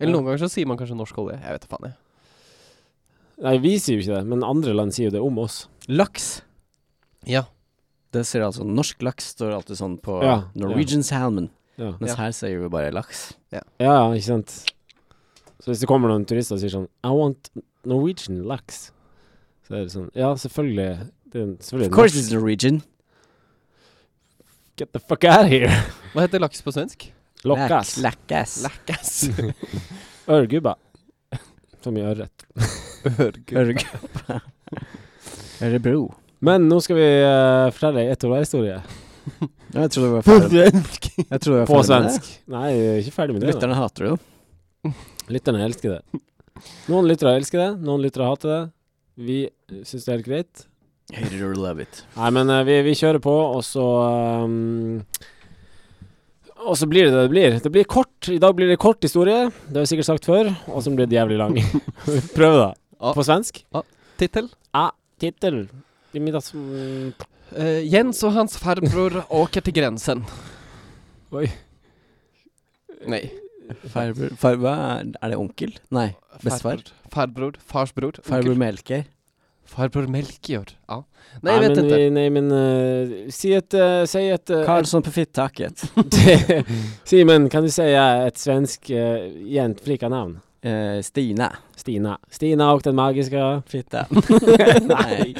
Eller Ja. noen ganger så sier man kanskje norsk olje, jeg vet da faen jeg. Nei, vi sier jo ikke det, men andre land sier jo det om oss. Lax. Ja. Det ser alltså, norsk lax står alltid sån på Ja, Norwegian salmon. Ja, Men Ja. här säger vi bara lax. ja, ja ikke sant. Så hvis det kommer noen turister og sier sånn I want Norwegian laks, så er det sånn Ja, selvfølgelig. Det er en- Of selvfølgelig course it's Norwegian. norsk. Get the fuck out of here! Hva heter laks på svensk? Lokkas. *laughs* Lackass. Lackass. Ørgubba. Som i ørret. Örg. Örebro. Men nå skal vi eh, fortelle ei historie Ja, jag trodde vi var färdiga. Jag trodde vi var På färdiga med svensk. Nei, vi er ikke ferdig med det. det. da. Lyttarna hatar du. Lytterne elsker det. Noen lyttere elsker det, noen lyttere hater det. Vi syns det er helt greit. Hate it or love it. Nei, men eh, vi, vi kjører på, og så ehm, Og så blir det det det blir. Det blir kort. I dag blir det kort historie. Det har vi sikkert sagt før. Og så blir det jævlig lang. Prøv, da. Ja. På svensk. Tittel? Tittel. I middags... mm, Eh, Jens och hans farbror åker till gränsen. Oj. Nej. Farbror, farbror, vad är det onkel? Nej, Besvär. Farbror, farbror farsbror, farbror onkel. Melker. farbror Melchior. Ja. Nej, jag vet men, inte. vi- Nei, men eh, Si et eh, Si et *laughs* eh, Karlsson på fittaket. Det- Simon, kan du säga ett svensk uh, jentflickanamn? Eh, Stina. Stina. Stina och den magiska... Fitta. *laughs* Nej.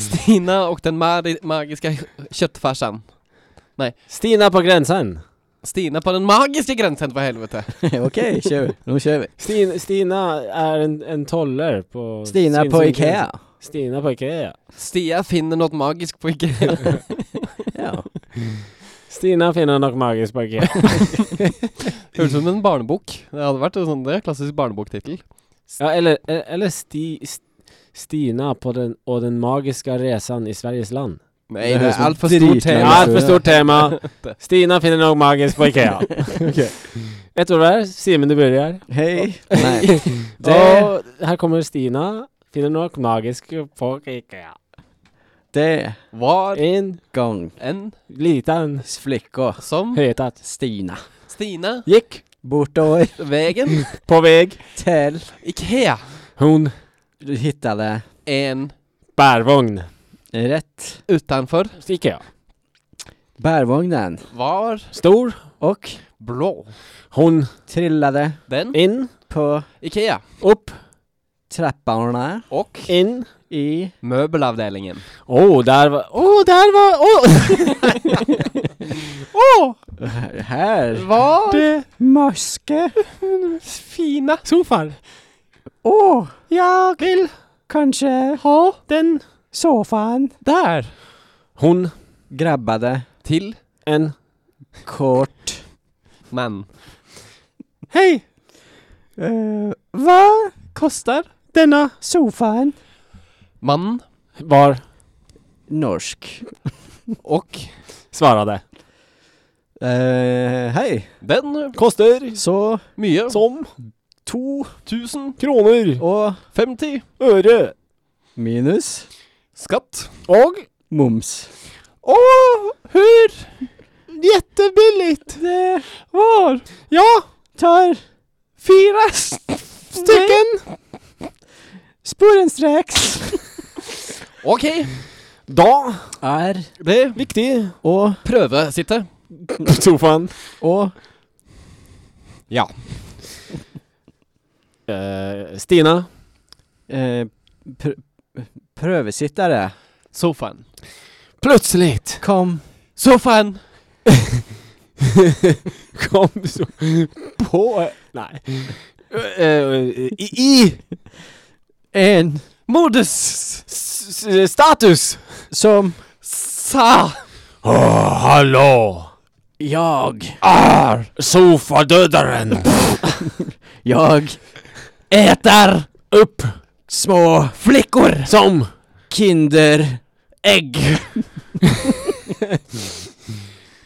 Stina och den mari- magiska köttfärsan. Stina på gränsen! Stina på den magiska gränsen för helvete. Okej, kör vi. Nu kör vi. Stin, Stina är en, en toller på... Stina sin- på sin- Ikea. Stina på Ikea. Stia finner något magiskt på Ikea. *laughs* Ja. Stina finner något magiskt på Ikea. Hørtes ut som en barnebok. Det hadde vært en sånn, det er klassisk barneboktitel ja, eller eh, eller sti, St- Stina på den, och den magiska resan i Sveriges land. Nej, Det det, høres är som allt för Eh, stort dritlang- tema. Ja, ett för stort tema. Stina finner något magiskt på Ikea. Okej. Ett ord där. Simon, du börjar. Hej. Nej. Det, Og her kommer Stina. Finner nok magiske folk ikke det Var En gång. en liten Flicka. som høytatt Stina. Stina gikk Bortår. vägen på vei. Till. Ikea Hun Du hittade en bærvogn. rätt. utanför Ikea. Bärvagnen. var Stor. Och blå. Hun trillade Den inn, på Ikea opp, trapporna och inn. i... möbelavdelningen. Å, der var Å, der var Å! Här. Var Maske. fina Sofaen. Åh. Jeg vil Kanske ha den. soffan. där Hun Grabbade till en kort. man. Hei, Uh, vad Kostar denne soffan? man var Norsk. och Svara det. Eh, Hei. den Koster Så mye som to 1050 kroner, og øre minus skatt og moms. och hur Jättebilligt! Det var Ja, tar fyra stycken! sporenstreks. Okej, Da Er det Viktig. å pröva sitta. Sofaen. å Ja. Eh, Stina. eh, pr prøvesittere Soffan. Plutselig kom Soffan. *laughs* kom så på Nei. Eh, i, I en Modus. s- s- status som Sa. hallo! Jag. Er sofadøderen *laughs* Jag. eter opp Små flickor. som Kinder. egg.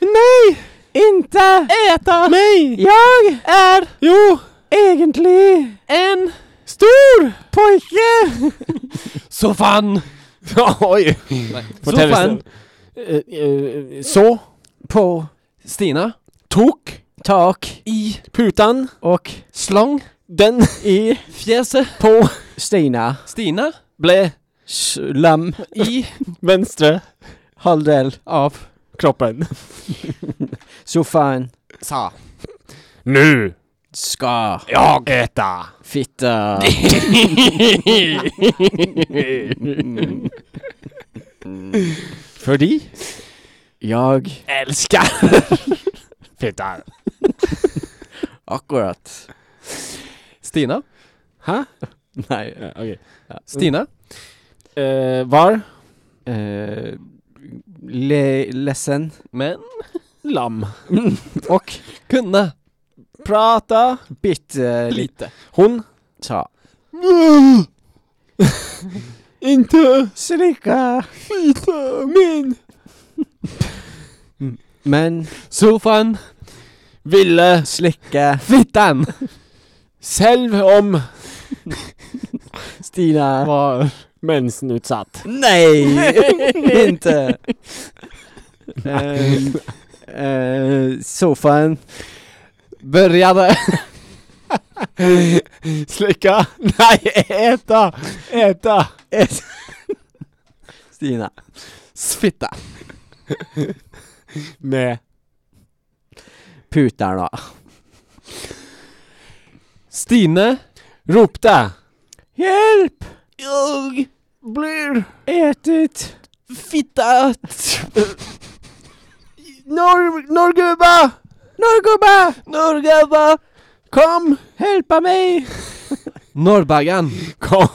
Nej! Inte äta Meg Jag är jo egentlig en stor pojke. Sofaen! *laughs* Oi! Fortell Sofaen. Eh, eh, Så På Stina. tok tak I. putan och Slang. den i Fjeset. på Stina. Stina. ble Slam. I. venstre Halvdel Av. kroppen. soffan. Sa. Nu Ska. jag äta. *laughs* Fitta. Fordi Jag. elsker fittan. Akkurat. Stina. Hæ? Nej. Ja, ok. Stina. Eh, var Uh, le ledsen. Men. lam. Och Kunne. Prata bitte Lite. Hon ta. *laughs* Inte Slicka. fita min Men Sofaen. Ville slicka. Fittan. selv om Stina. var mensenutsatt. Nej! Inte. Ehm, eh, soffan. *laughs* Började. Slicka? Nej, äta! Äta! Stina. Sfitta. Med Putarna. Stine. ropte Hjälp! Jag blir Ätit. *laughs* Fittat. norr, norrgubba! Norrgubba! Norrgubba. Kom! Hjälpa mig! Norrbaggan. Kom!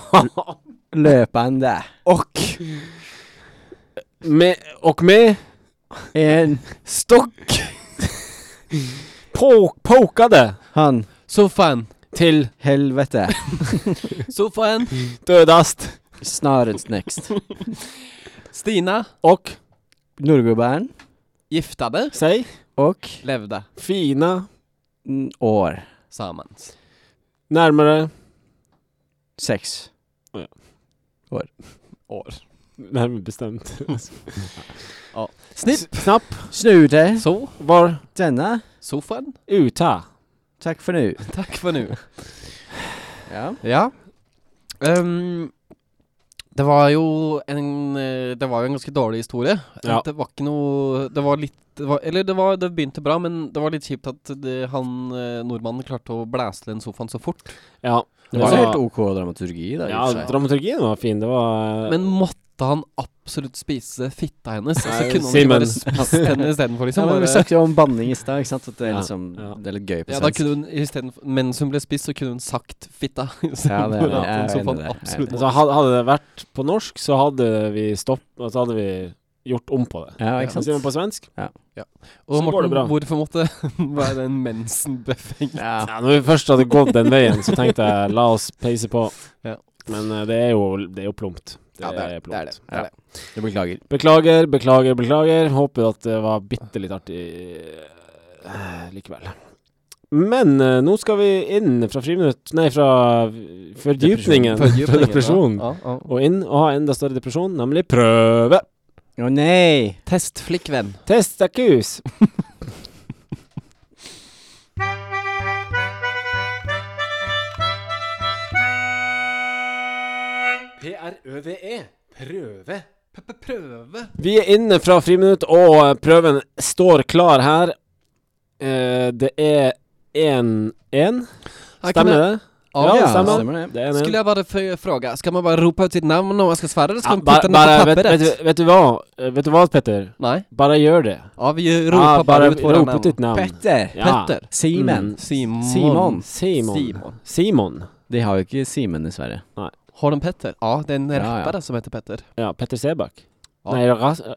Löpande. Och med, och med En. Stock. på, pokade Han. Sofaen. till Helvete. Sofaen. dödast Snarest next. Stina. och Norrgubben. Giftade. säg Och Levde. fina mm, år. Samans. närmare Sex. År. närmare bestämt Snipp. knapp Snude. Så. var Denna. Sofaen. *laughs* uta Tack för nu. Tack för nu. Ja. Ja. Ehm, det var jo en eh, Det var jo en ganske dårlig historie. Ja. Det var ikke noe Det var litt det var, Eller det, var, det begynte bra, men det var litt kjipt at det, han eh, nordmannen klarte å blæse den sofaen så fort. ja Det var Ja. helt OK dramaturgi da. i og ja for seg. dramaturgien var fin det var eh, Men måtte han absolutt spise fitta hennes? Altså, Nei, kunne han ikke Simen. bare spist henne *laughs* ja, istedenfor, liksom? men vi Bare, snakket jo om banning i stad, ikke sant? At det er Ja, liksom ja. Det er litt gøy på ja, da svensk. kunne hun istedenfor Mens hun ble spist, så kunne hun sagt fitta. *laughs* Ja, det er- jeg istedenfor at er den enig sofaen der, jeg er absolutt altså, hadde, hadde det vært på norsk så hadde vi stopp altså hadde vi gjort om på det Ja, Men ikke sant? sier man på svensk Så Og går det Morten, bra. hvorfor måtte *laughs* være den mensenbefengt? Ja. ja, når vi først hadde gått den veien så tenkte jeg la oss peise på Ja. men eh, det er jo det er jo plumpt det, Ja, det er- er det er plumpt det. Det er det. Jeg beklager. Beklager, beklager, beklager. Håper at det var bitte litt artig eh, likevel. Men eh, nå skal vi inn fra friminutt Nei, fra fordypningen. *laughs* Fra depresjon. Ja, ja. Og inn og ha enda større depresjon, nemlig prøve. Å nei! Test flikkvenn. Testakus. P-r-ø-v-e. Prøve. Prøve. Vi er inne fra friminutt, og eh, prøven står klar her. Eh, det er 1-1. Stemmer det? Ja, det stemmer. Det er en, en. Skulle jag bara fö- fråga, ska man bara ropa ut sitt namn om man ska svara eller ska Ja, man bare- putta ner bare- på vet, papperet? vet, du- vet du hva? Eh, Vet du hva, Petter? Nej, Bare gjør det. ja vi ropar Ja, bara bare ut våra namn. rop ut ditt navn. Petter. Ja. Petter. Simen. Mm. Simon. Simon. Simon. Simon. Simon. De har jo ikke Simen, dessverre. Har de Petter? Ja, det är en Ja, rappare ja. som heter Petter. Ja, Petter Sebakk. Ja. Nei, Ras... eh,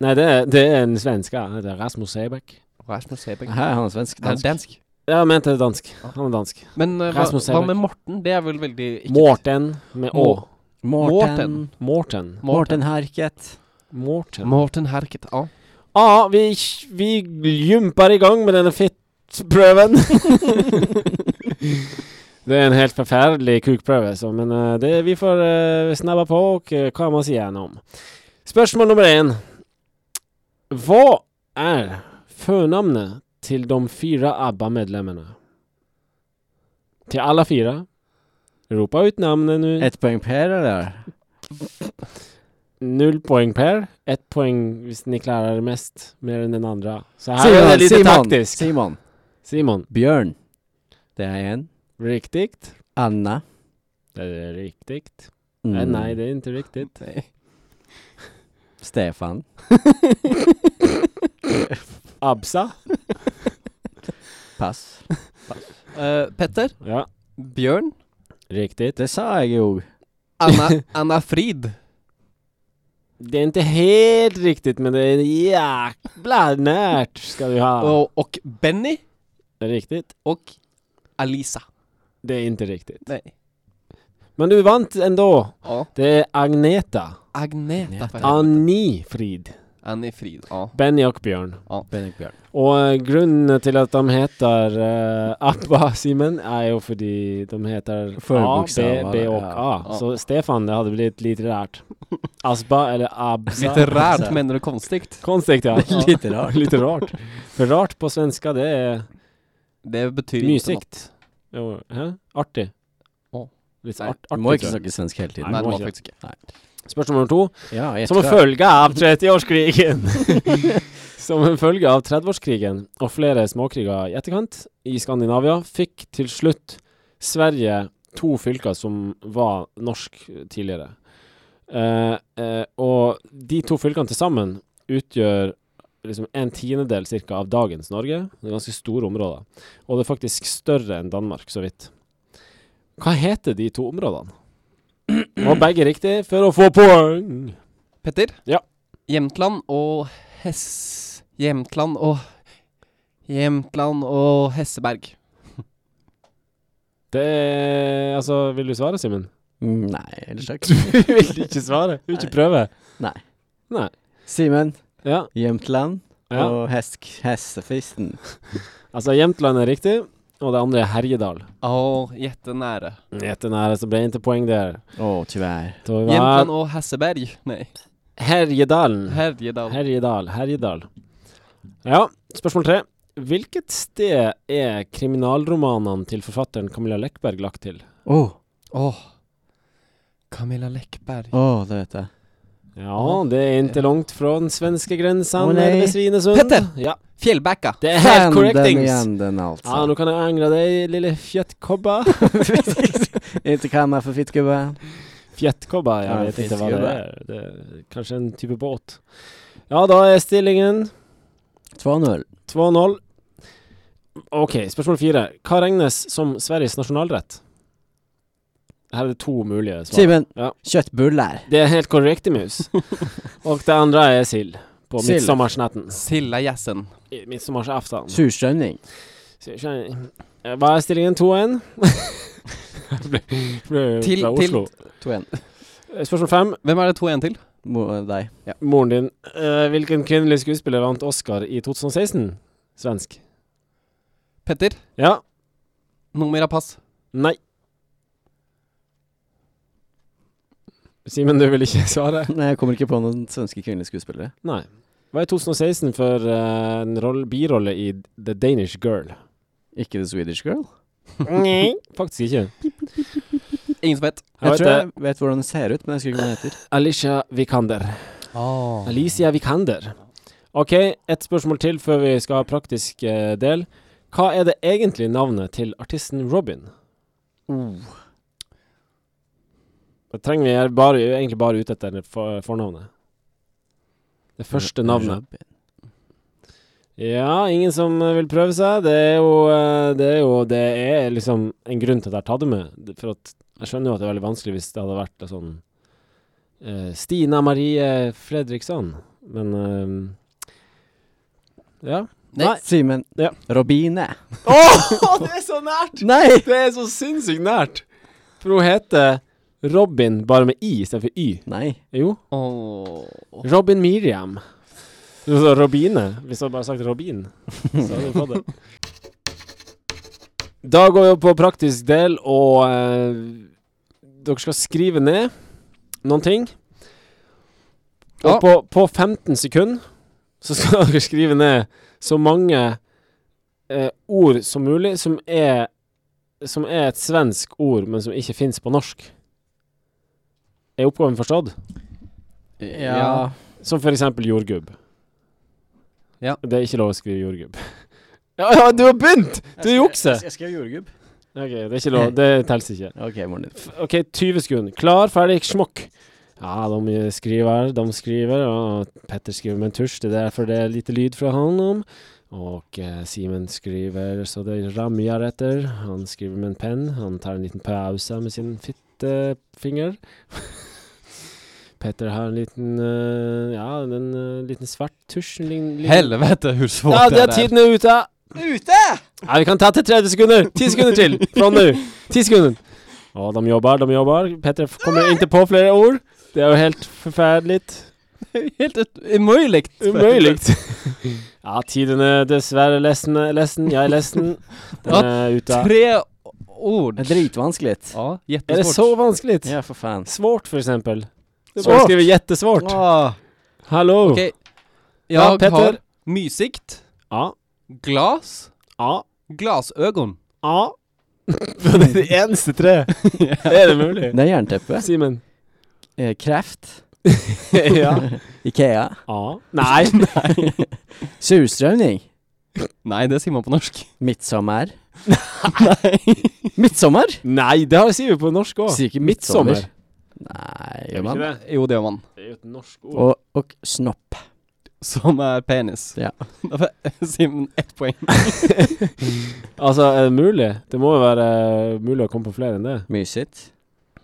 Nej, det är, det är en svenska. Det är Rasmus Sebeck. Rasmus Heberg. Her er han svensk. Han er Dansk. dansk. Jag menar dansk. Han är dansk. Men eh, hva, Rasmus hva Heberg. med Morten? Det er vel veldig ikke- Mårten med Å. Må- Morten. Mårten. Morten Harket. Mårten. Morten Herket, ja. Ja, vi, vi gympar igång med denne fittprøven. *laughs* det er en helt forferdelig kukprøve, så, men eh, det, vi får eh, snabba på og eh, komme oss igjennom. Spørsmål nummer én. Hva er fornavnet til de fire ABBA-medlemmene? Til alle fire. Rop ut navnet nå. Ett poeng per, eller? Null poäng per. Ett poäng hvis ni klarar det mest, mer än den andra. Så här är det Simon, lite Simon, taktisk. Simon. Simon, Bjørn. Det er en. riktigt? Anna. Det är riktigt. Mm. Nej, nej, det är inte riktigt. Stefan. Absa? Pass. Eh, Petter, Ja, Bjørn, riktigt. Det sa jeg jo. Anna, Anna Frid. Det är inte helt riktigt, men det är jäkla närt ska du ha. Og, og Benny Riktigt. og Alisa. Det är inte riktigt. Nei. Men du vann ändå. Ja. Det är Agneta. Agneta. for helvete. Annie Frid. Annie Frid, ja. Benny och Björn. Bendik Bjørn. Og eh, grunnen til at de heter eh, Abba *laughs* Simen, er jo fordi de heter A, B, Forbokstaver, B og A. ja. Så Stefan, det hadde blitt litt rart. Asba eller Absa. *laughs* Litt rart, mener du konstig? Konstig, *laughs* ja. Litt rart. Litt rart. For rart på svenska, det er Det betyr ikke noe. mysigt. Jo, hæ? Artig. Å. Litt Nei, art, Du må artig. tror ikke jeg. snakke svensk hele tiden. Nei, Nei, det det må var ikke. faktisk ikke. Spørsmål nummer to. Ja, Som en gjettklart. følge av 30-årskrigen. *laughs* Som en følge av 30-årskrigen og flere småkriger i etterkant i Skandinavia fikk til slutt Sverige to fylker som var norsk tidligere. Eh, eh, og de to fylkene til sammen utgjør liksom en tiendedel cirka av dagens Norge. Det er ganske store områder. Og det er faktisk større enn Danmark, så vidt. Hva heter de to områdene? Må begge riktig for å få poeng. Petter? Ja. Jämtland og Hess... Jämtland og Jämtland og Hesseberg. Det er Altså, vil du svare, Simen? Mm, Nei, ellers takk. vil ikke svare? Vil ikke prøve? *laughs* Simen. Ja. Jämtland. ja. Og hesk, hestefisten. Altså, Jämtland er riktig, og det andre er Herjedal. Å, jättenära. Jättenära, så ble det ikke poeng der. Å, tyvärr. Da var Jämtland og Hesseberg. Nei, Herjedalen. Härjedal. Herjedal. Herjedal. Ja, spørsmål tre. Hvilket sted er kriminalromanene til forfatteren Camilla Lekberg lagt til? Å, Åh. Camilla Läckberg. å, det vet jeg. Ja, det er ikke langt fra den svenske grensen, Å, nei. nede ved Svinesund. Petter! Ja, Fjällbacka. det er helt *laughs* Fan, correct den things. igjen, den altså. Ja, nå kan jeg angre deg, lille fjøttkobba. Inte kamma för fittgubbar. Fjettkobba, jeg Ja, vet ikke hva det fiskegubbe. er. Det er kanskje en type båt. Ja, da er stillingen 2-0. 2-0. Ok, spørsmål fire. Hva regnes som Sveriges nasjonalrett? Her er det to mulige svar. Simen, Ja. köttbullar. Det er helt korrekt, *laughs* mus. Og det andre er sild. På Sild. midtsommernætten. Sillajazzen. I Midtsommensaften. Surströmming. Eh, Hva er stillingen? *laughs* 2-1? Ble- ble Til- fra til- Oslo. 2-1. Eh, Spørsmål fem. Hvem er det to igjen til? Mot deg. *laughs* Moren din. eh, hvilken kvinnelig skuespiller vant Oscar i 2016? Svensk. Petter? Ja. Numera pass. Nei. Simen, du vil ikke *laughs* svare? Nei, jeg kommer ikke på noen svenske kvinnelige skuespillere. Nei. Hva er 2016 for eh, en roll, birolle i The Danish Girl? Ikke The Swedish Girl. Nei. Faktisk ikke. Ingen som vet. Jeg Jeg tror heter jeg vet hvordan hun ser ut, men jeg husker ikke hva hun heter. Alicia Vikander. Oh. Alicia Vikander. OK, ett spørsmål til før vi skal ha praktisk eh, del. Hva er det egentlig navnet til artisten Robin? Da trenger vi er bare, egentlig bare ute etter for, fornavnet. Det første navnet. Ja, ingen som eh, vil prøve seg. Det er jo eh, Det er, jo, det er liksom en grunn til at jeg tar det med. Det- For at jeg skjønner jo at det er veldig vanskelig hvis det hadde vært en sånn eh, Stina Marie Fredriksson. Men ehm, Ja. Nei. Simen. Ja. Robine. Å, det er så nært! Nei! Det er så sinnssykt nært! For hun heter Robin, bare med i istedenfor y. Nei. Jo. Åh Robin Miriam. Du sa Robine. Hvis du hadde bare sagt Robin, så hadde du fått det. Da går vi opp på praktisk del, og eh, dere skal skrive ned noen ting. Og Ja. på, på 15 sekunder så skal *laughs* dere skrive ned så mange eh, ord som mulig som er, som er et svensk ord, men som ikke fins på norsk. Er oppgaven forstått? Ja. Som for eksempel jordgubb. Ja. Det er ikke lov å skrive jordgubb. *laughs* Ja, ja, du har begynt! Du jukser! Jeg skrev jordgubb. Ok, det er ikke lov. Det telles ikke. *laughs* OK, Morten. F- OK, 20 sekunder. Klar, ferdig, smokk. Ja, de skriver, de skriver, og Petter skriver med en tusj. Det er derfor det er lite lyd fra han om. Og eh, Simen skriver så det ramjer etter. Han skriver med en penn. Han tar en liten pause med sin fittefinger. *laughs* Petter har en liten eh, Ja, en eh, liten svart tusj. en liten- liten- Helvete hvor svårt Ja, det det er er tiden er ute. Ute! Nei, vi kan ta til 30 sekunder. 10 sekunder til fra nå. 10 sekunder. Å, de jobber, de jobber. Petter f- kommer ikke på flere ord. Det er jo helt forferdelig. Helt ut- umulig Umulig. Ja, tiden er dessverre lessen, lessen. Jeg er lessen. Den er ute. Tre ord Det er dritvanskelig. Ja, Er det jättesvårt så vanskelig? Ja, for faen. Svårt, for eksempel. Du bare skriver jättesvårt. Åh. Hallo. Okej, Ja, jag Petter. har mysigt, Ja, glas, ja, glasögon ja. *laughs* Det er det eneste tre. Er det mulig? Det er *laughs* jernteppe. Simen. Eh, Kreft. *laughs* Ja. Ikea. ja. Nei. Surstrømning. Nej, det säger man på norsk Midtsommer. *laughs* Midtsommer? Nei, det har sier vi på norsk òg. Sier ikke midtsommer. Midtsommer. Nei, Gjør gjør vi man. ikke det? Jo, det gör man Det er jo et norsk ord. Og, og snopp. Som är penis *laughs* Ja. Därför Simon ett poäng Altså, er det mulig? Det må jo være mulig å komme på flere enn det. Mysigt.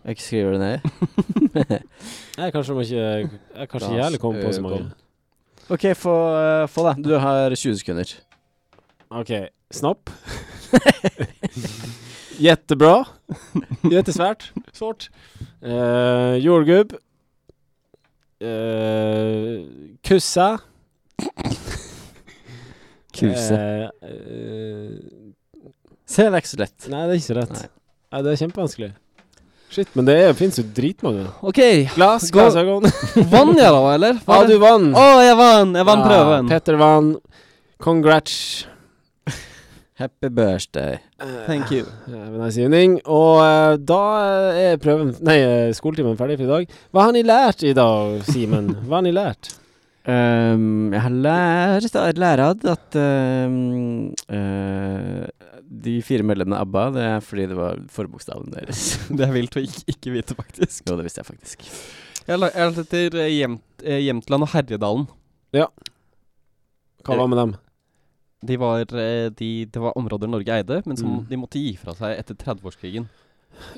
Jeg skriver det ned. Jeg kanskje må ikke Jeg kanskje ikke heller kommer på så mange. *laughs* OK, få, eh, få da. Du har 20 sekunder. OK. *laughs* Snopp. Jettebra. Jettesvært. Svårt. Eh, jordgubb. Eh, kussa. Kuse. Eh, eh, Se, det er ikke så lett. nei, det er ikke så rett. Nei. Nei. det er kjempevanskelig. Shit, men det er- fins jo dritmange. Okej, Glass, Gå- glassögon. vann jag då eller? Ja, du vann. Åh, jag vann! Jag vann pröven Petter vann. Congrats. Happy birthday. Thank you Eh, Nice evening. Og eh, da er prøven Nei, eh, skoletimen ferdig for i dag. Hva har ni lært i dag, Simen? *laughs* Hva har ni lært? Ehm, jeg har lært jeg har lært at ehm, eh, de fire medlemmene av ABBA Det er fordi det var forbokstaven *laughs* deres. *laughs* Det er vilt å ikke, ikke vite faktisk Jo, det visste jeg faktisk. Jeg har lært etter eh, Jämt- eh, Jämtland og Herjedalen Hva var med dem? de var, eh, de, det var områder Norge eide Men som Mm. de måtte gi fra seg etter 30-årskrigen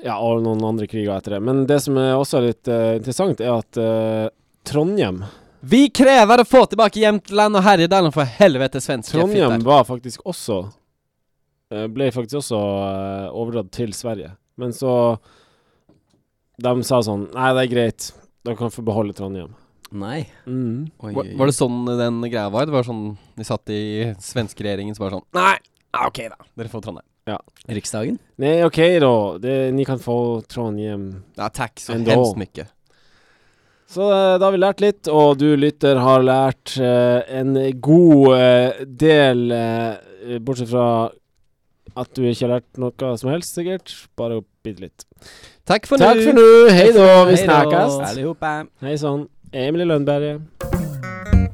Ja, og noen andre kriger etter det. Men det som er også er litt eh, interessant, er at eh, Trondheim Vi krever å få tilbake Jämtland og Härjedalen for helvete svenske Trondheim fitter. var faktisk også eh, Ble faktisk også eh, overdratt til Sverige. Men så De sa sånn Nei, det er greit. Dere kan få beholde Trondheim. Nei. Mm. Oi, Var, var det sånn den greia var? Det var sånn de satt i svenske regjeringen så var det sånn Nei, ah, ok da, dere får Trondheim. Riksdagen? Nei, ok da. Det, ni kan få Trondheim. Ja, takk så Ändå. hemskt mye. Så eh, da har vi lært litt, og du lytter har lært eh, en god eh, del, eh, bortsett fra at du ikke har lært noe som helst, sikkert. Bare bitte litt. Takk for Takk for nå. nå. Hei da, vi Hej då. snakkes. Allihopa. Hei sann. Emilie Lønneberget.